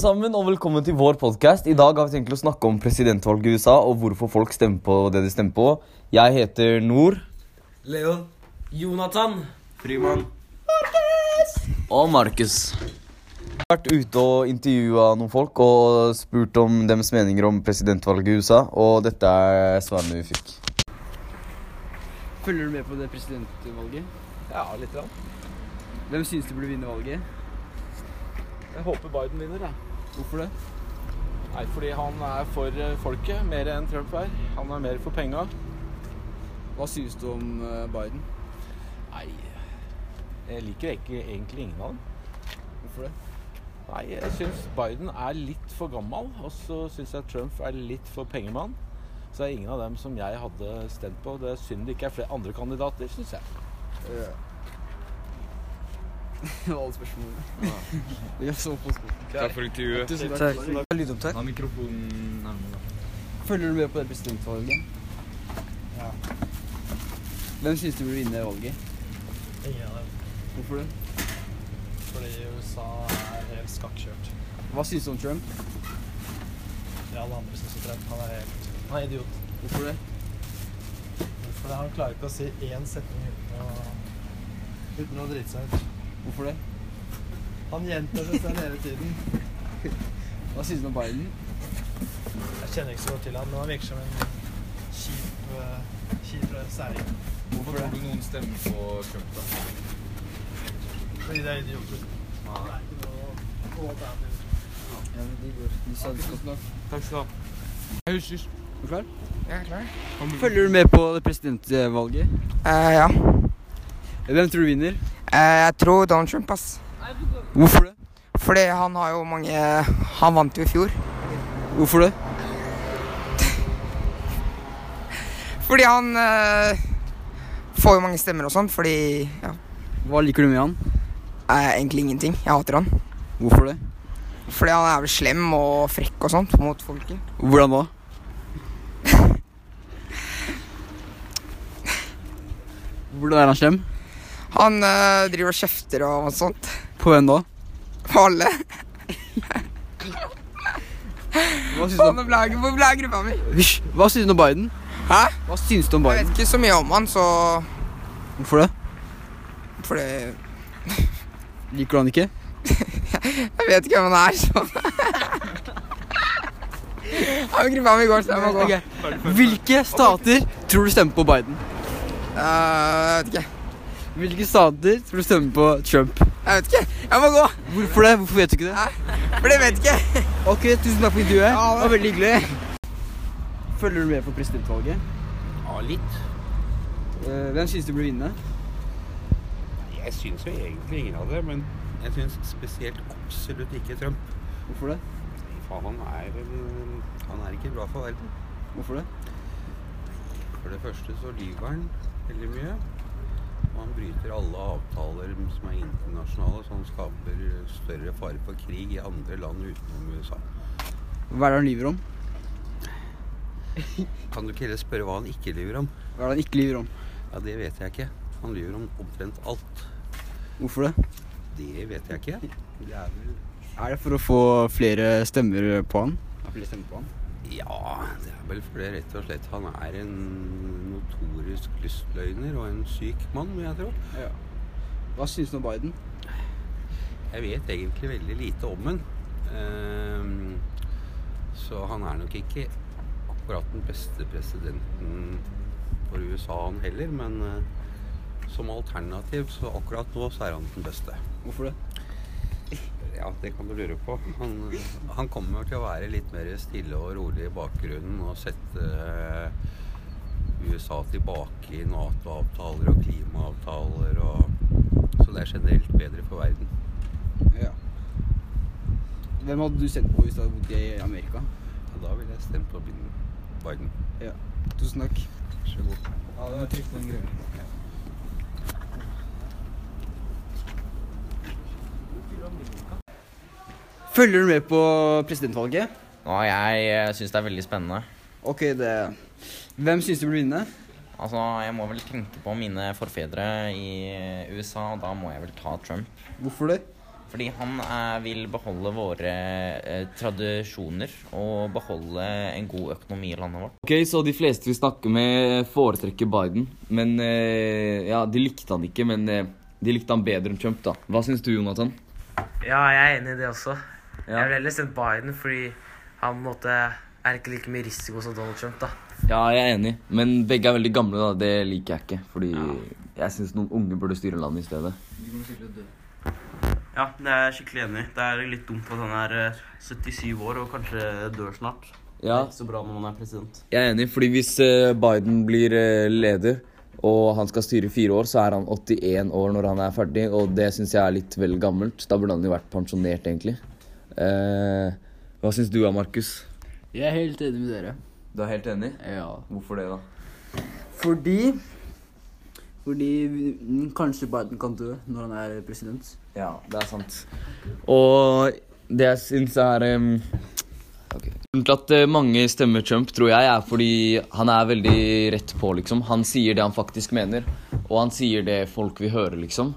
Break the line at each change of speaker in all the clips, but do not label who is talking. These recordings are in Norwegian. sammen og velkommen til vår podcast. I dag har vi tenkt å snakke om presidentvalget i USA og hvorfor folk stemmer på det de stemmer på. Jeg heter Nor.
Leon.
Jonathan.
Frimann.
Og Markus.
Jeg har vært ute og intervjua noen folk og spurt om deres meninger om presidentvalget i USA, og dette er svarene vi fikk.
Følger du med på det presidentvalget?
Ja, litt. Rann.
Hvem syns du burde vinne valget?
Jeg håper Biden vinner, jeg.
Hvorfor det?
Nei, fordi han er for eh, folket mer enn Trump er. Han er mer for penga.
Hva syns du om eh, Biden?
Nei Jeg liker ikke, egentlig ingen av dem.
Hvorfor det?
Nei, jeg syns Biden er litt for gammel, og så syns jeg Trump er litt for pengemann. Så det er ingen av dem som jeg hadde stemt på. Det er synd det ikke er flere andre kandidater, syns jeg.
Det var Eh. alle spørsmålene. Vi er så på skolen.
Takk for intervjuet.
Tusen takk. Lydopptak.
Ha mikrofonen nærmere.
Følger du med på det presidentvalget? Ja. Hvem syns du burde vinne valget?
Ingen av dem.
Hvorfor det?
Fordi USA er helt skakkjørt.
Hva syns du om Trump?
Det alle andre syns er Trump. Han er helt Han er idiot.
Hvorfor det?
Hvorfor det? Han klarer ikke å si én setning uten å Uten å drite seg ut.
Hvorfor det?
Han gjentar seg selv hele tiden.
Hva syns du om Biden?
Jeg kjenner ikke så godt til han, men han virker som en kjip, eh, kjip særing.
Hvorfor tror du noen stemmer på Trump, da?
Fordi det er idioter. Det er ikke noe å alternativ.
Ja, men de går. De sa Tusen takk.
Takk skal du ha. Jeg husker.
Er du klar?
Jeg er klar.
Følger du med på det presidentvalget?
Eh, ja.
Hvem tror du vinner?
Eh, jeg tror Donald Trump, ass.
Hvorfor det?
Fordi han har jo mange Han vant jo i fjor.
Hvorfor det?
Fordi han eh, får jo mange stemmer og sånn, fordi ja.
Hva liker du med han?
Eh, egentlig ingenting. Jeg hater han.
Hvorfor det?
Fordi han er vel slem og frekk og sånt mot folket.
Hvordan da? Hvordan er han slem?
Han eh, driver og kjefter og sånt
På hvem da?
på alle.
Hva syns du om,
Faen, blager, hvor ble av gruppa mi?
Hysj! Hva syns du om Biden?
Hæ?
Hva syns du om
Jeg vet
Biden?
ikke så mye om han, så
Hvorfor det?
Fordi
Liker du han ikke?
Jeg vet ikke hvem han er, så Ja, men Gruppa mi går, så jeg må gå.
Ok. Hvilke stater tror du stemmer på Biden?
Eh, jeg vet ikke.
Hvilke stater tror du stemmer på Trump?
Jeg vet ikke. Jeg må gå.
Hvorfor det? Hvorfor vet du ikke det?
For det vet ikke.
Ok, tusen takk for intervjuet. Det var veldig hyggelig. Følger du med på presidentvalget?
Ja, litt.
Eh, Hvem syns du burde vinne?
Jeg syns jo egentlig ingen av det, men jeg syns spesielt absolutt ikke Trump.
Hvorfor det?
Nei, faen, han er en Han er ikke bra for verden.
Hvorfor det?
For det første så lyver han veldig mye. Og han bryter alle avtaler som er internasjonale, så han skaper større fare for krig i andre land utenom USA.
Hva er det han lyver om?
Kan du ikke heller spørre hva han ikke lyver om?
Hva er det han ikke lyver om?
Ja, det vet jeg ikke. Han lyver om omtrent alt.
Hvorfor det?
Det vet jeg ikke. Det er vel
Er det for å få flere stemmer på han? Flere stemmer på han?
Ja, det er vel fordi rett og slett han er en notorisk lystløgner og en syk mann, vil jeg tro.
Hva syns du om Biden?
Jeg vet egentlig veldig lite om han. Ehm, Så han er nok ikke akkurat den beste presidenten for USA, han heller. Men eh, som alternativ, så akkurat nå, så er han den beste.
Hvorfor det?
Ja, det kan du lure på. Han, han kommer til å være litt mer stille og rolig i bakgrunnen og sette eh, USA tilbake i Nato-avtaler og klimaavtaler og Så det er generelt bedre for verden.
Ja. Hvem hadde du sendt på hvis du hadde bodd i Amerika?
Ja, da ville jeg stemt på Biden.
Tusen takk.
Vær så god.
Ja, det var trygt noen greier. Følger du med på presidentvalget?
Nå, jeg eh, syns det er veldig spennende.
Ok, det Hvem syns du burde vinne?
Altså, Jeg må vel eh, tenke på mine forfedre i USA, og da må jeg vel ta Trump.
Hvorfor det?
Fordi han eh, vil beholde våre eh, tradisjoner og beholde en god økonomi i landet vårt.
Ok, så de fleste vi snakker med eh, foretrekker Biden. Men eh, ja, de likte han ikke, men eh, de likte han bedre enn Trump, da. Hva syns du, Jonathan?
Ja, jeg er enig i det også.
Ja.
Jeg ville heller stemt Biden fordi han på en måte er ikke like mye risiko som Donald Trump. da.
Ja, jeg er enig, men begge er veldig gamle, da. Det liker jeg ikke. Fordi jeg syns noen unge burde styre landet i stedet.
Ja, det er jeg skikkelig enig i. Det er litt dumt at han er eh, 77 år og kanskje dør snart. Det
Ja,
er ikke så bra når man er president.
jeg er enig, fordi hvis eh, Biden blir eh, leder og han skal styre i fire år, så er han 81 år når han er ferdig, og det syns jeg er litt vel gammelt. Da burde han jo vært pensjonert, egentlig. Eh, hva syns du da, Markus?
Jeg er helt enig med dere.
Du er helt enig?
Ja.
Hvorfor det, da?
Fordi Fordi mm, kanskje Biden kan dø når han er president.
Ja, det er sant. Og det jeg syns er um, Grunnen til at eh, mange stemmer Trump, tror jeg, er fordi han er veldig rett på, liksom. Han sier det han faktisk mener, og han sier det folk vil høre, liksom.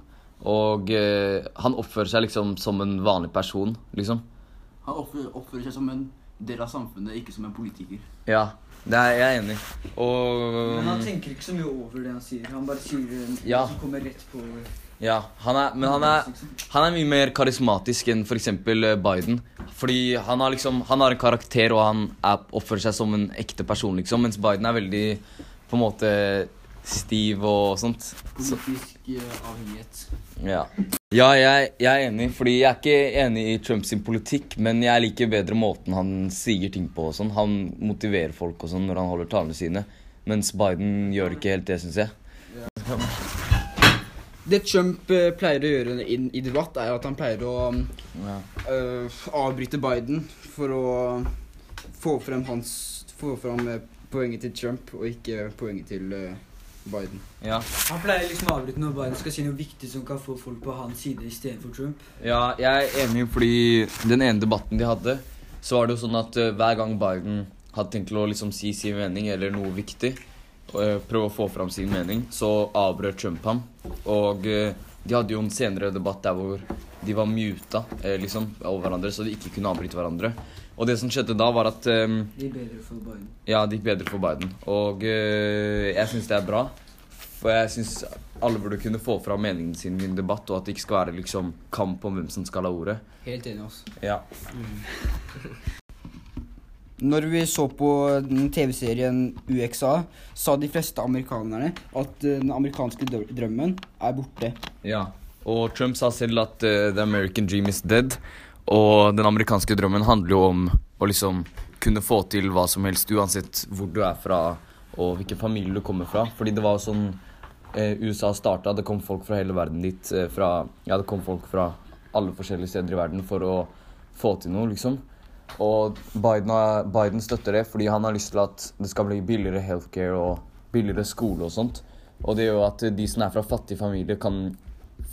Og eh, han oppfører seg liksom som en vanlig person, liksom.
Han oppfører, oppfører seg som en del av samfunnet, ikke som en politiker.
Ja, det er jeg er enig i. Og
Men han tenker ikke så mye over det han sier. Han bare sier det
Ja.
som kommer rett på.
Ja, han er, men han er, han er mye mer karismatisk enn f.eks. Biden. Fordi han har, liksom, han har en karakter, og han er, oppfører seg som en ekte person, liksom. Mens Biden er veldig på en måte stiv og sånt. Så,
Politisk eh, avhengighet.
ja, ja jeg, jeg er enig, fordi jeg er ikke enig i Trumps politikk, men jeg liker bedre måten han sier ting på og sånn. Han motiverer folk og sånn når han holder talene sine. Mens Biden gjør ikke helt det, syns jeg.
Det Trump eh, pleier å gjøre i, i debatt, er at han pleier å eh, avbryte Biden for å få frem, hans, få frem eh, poenget til Trump, og ikke poenget til eh, Biden.
Ja.
Han pleier liksom å avbryte når Biden skal si noe viktig som kan få folk på hans side istedenfor Trump.
Ja, jeg er enig, fordi den ene debatten de hadde, så var det jo sånn at eh, hver gang Biden hadde tenkt til å liksom si sin mening eller noe viktig, og, eh, prøve å få fram sin mening, så avbrøt Trump ham. Og eh, de hadde jo en senere debatt der hvor de var muta eh, liksom, over hverandre, så de ikke kunne avbryte hverandre. Og det som skjedde da, var at eh,
Det er bedre for Biden.
ja, det gikk bedre for Biden. Og eh, jeg syns det er bra. For jeg syns alle burde kunne få fram meningen sin i en debatt, og at det ikke skal være liksom kamp om hvem som skal ha ordet.
Helt enig, altså.
Ja.
Når vi så på den TV-serien UXA, sa de fleste amerikanerne at eh, den amerikanske drø- drømmen er borte.
ja. Og Trump sa selv at eh, the American dream is dead. Og den amerikanske drømmen handler jo om å liksom kunne få til hva som helst, uansett hvor du er fra og hvilken familie du kommer fra. Fordi det var jo sånn eh, USA starta, det kom folk fra hele verden dit. Eh, fra, ja, det kom folk fra alle forskjellige steder i verden for å få til noe, liksom. Og Biden, har, Biden støtter det fordi han har lyst til at det skal bli billigere healthcare og billigere skole og sånt. Og det gjør jo at de som er fra fattige familier, kan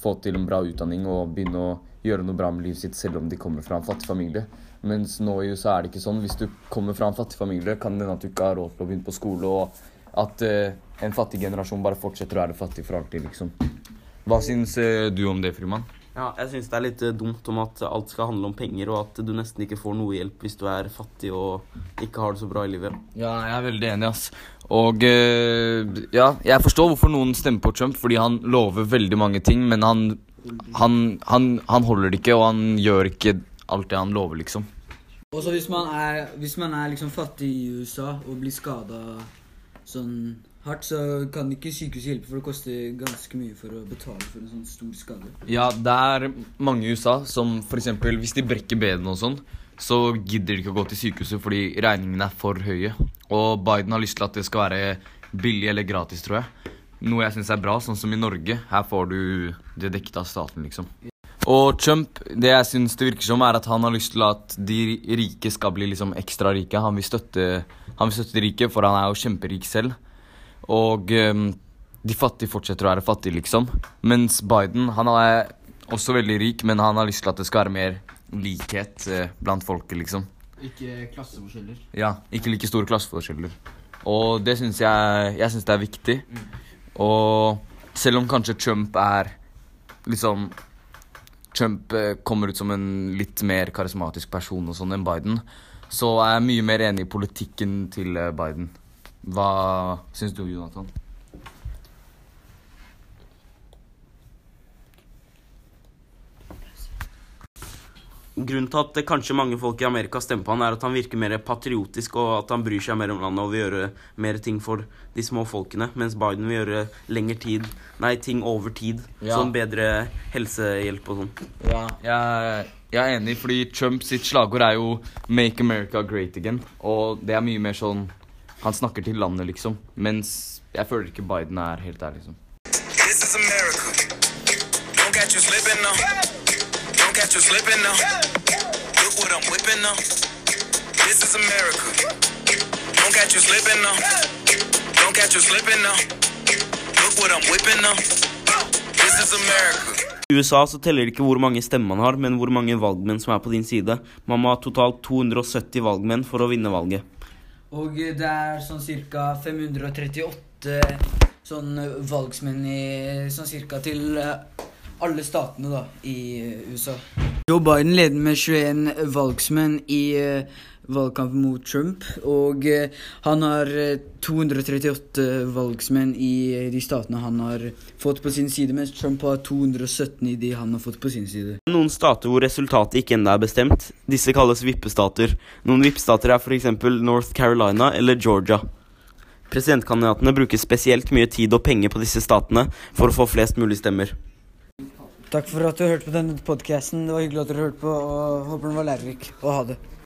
få til en bra utdanning og begynne å gjøre noe bra med livet sitt selv om de kommer fra en fattig familie. Mens nå i USA er det ikke sånn. Hvis du kommer fra en fattig familie, kan det hende at du ikke har råd til å begynne på skole, og at eh, en fattig generasjon bare fortsetter å være fattig for alltid, liksom. Hva syns eh, du om det, Frimann?
Ja, jeg syns det er litt eh, dumt om at alt skal handle om penger, og at du nesten ikke får noe hjelp hvis du er fattig og ikke har det så bra i livet.
Ja, jeg er veldig enig, ass. Og eh, ja, jeg forstår hvorfor noen stemmer på Trump, fordi han lover veldig mange ting, men han, han, han, han holder det ikke, og han gjør ikke alt det han lover, liksom.
Og så hvis man er, hvis man er liksom fattig i USA og blir skada sånn hardt, så kan ikke sykehuset hjelpe, for det koster ganske mye for å betale for en sånn stor skade.
Ja, det er mange i USA som f.eks. hvis de brekker benene og sånn, så gidder de ikke å gå til sykehuset fordi regningene er for høye. Og Biden har lyst til at det skal være billig eller gratis, tror jeg. Noe jeg syns er bra, sånn som i Norge. Her får du det dekket av staten, liksom. Og Trump, det jeg syns det virker som, er at han har lyst til at de rike skal bli liksom ekstra rike. Han vil støtte, han vil støtte de rike, for han er jo kjemperik selv. Og ehm, de fattige fortsetter å være fattige, liksom. Mens Biden, han er også veldig rik, men han har lyst til at det skal være mer likhet eh, blant folket, liksom.
Ikke klasseforskjeller.
Ja, ikke like store klasseforskjeller. Og det syns jeg, jeg synes det er viktig.
Mm.
Og selv om kanskje Trump er liksom Trump eh, kommer ut som en litt mer karismatisk person og sånn enn Biden, så er jeg mye mer enig i politikken til eh, Biden. Hva syns du, Jonathan?
Grunnen til at eh, kanskje mange folk i Amerika stemmer på han, er at han virker mer patriotisk, og at han bryr seg mer om landet og vil gjøre mer ting for de små folkene. Mens Biden vil gjøre lengre tid Nei, ting over tid.
Ja.
Sånn bedre helsehjelp og sånn.
Ja, jeg, jeg er enig, fordi Trump sitt slagord er jo 'Make America Great Again'. Og det er mye mer sånn Han snakker til landet, liksom. Mens jeg føler ikke Biden er helt der, liksom.
This is America. Don't catch you slipping now. Don't catch you slipping now. Look what I'm whipping now. This is America. Don't catch you slipping now. Don't catch you slipping now. Look what I'm whipping now. This is America.
I USA så teller det ikke hvor mange stemmer man har, men hvor mange valgmenn som er på din side. Man må ha totalt 270 valgmenn for å vinne valget.
Og eh, det er sånn ca. 538 sånn eh, valgsmenn i sånn cirka til eh, alle statene da, i eh, USA. Joe Biden leder med 21 valgsmenn i eh, valgkampen mot Trump. Og eh, han har eh, 238 valgsmenn i eh, de statene han har fått på sin side, mens Trump har 217 i de han har fått på sin side.
Noen stater hvor resultatet ikke ennå er bestemt. Disse kalles vippestater. Noen vippestater er f.eks. North Carolina eller Georgia. Presidentkandidatene bruker spesielt mye tid og penger på disse statene for å få flest mulig stemmer.
Takk for at du hørte på denne podkasten. Det var hyggelig at dere hørte på, og håper den var lærerik. Og ha det.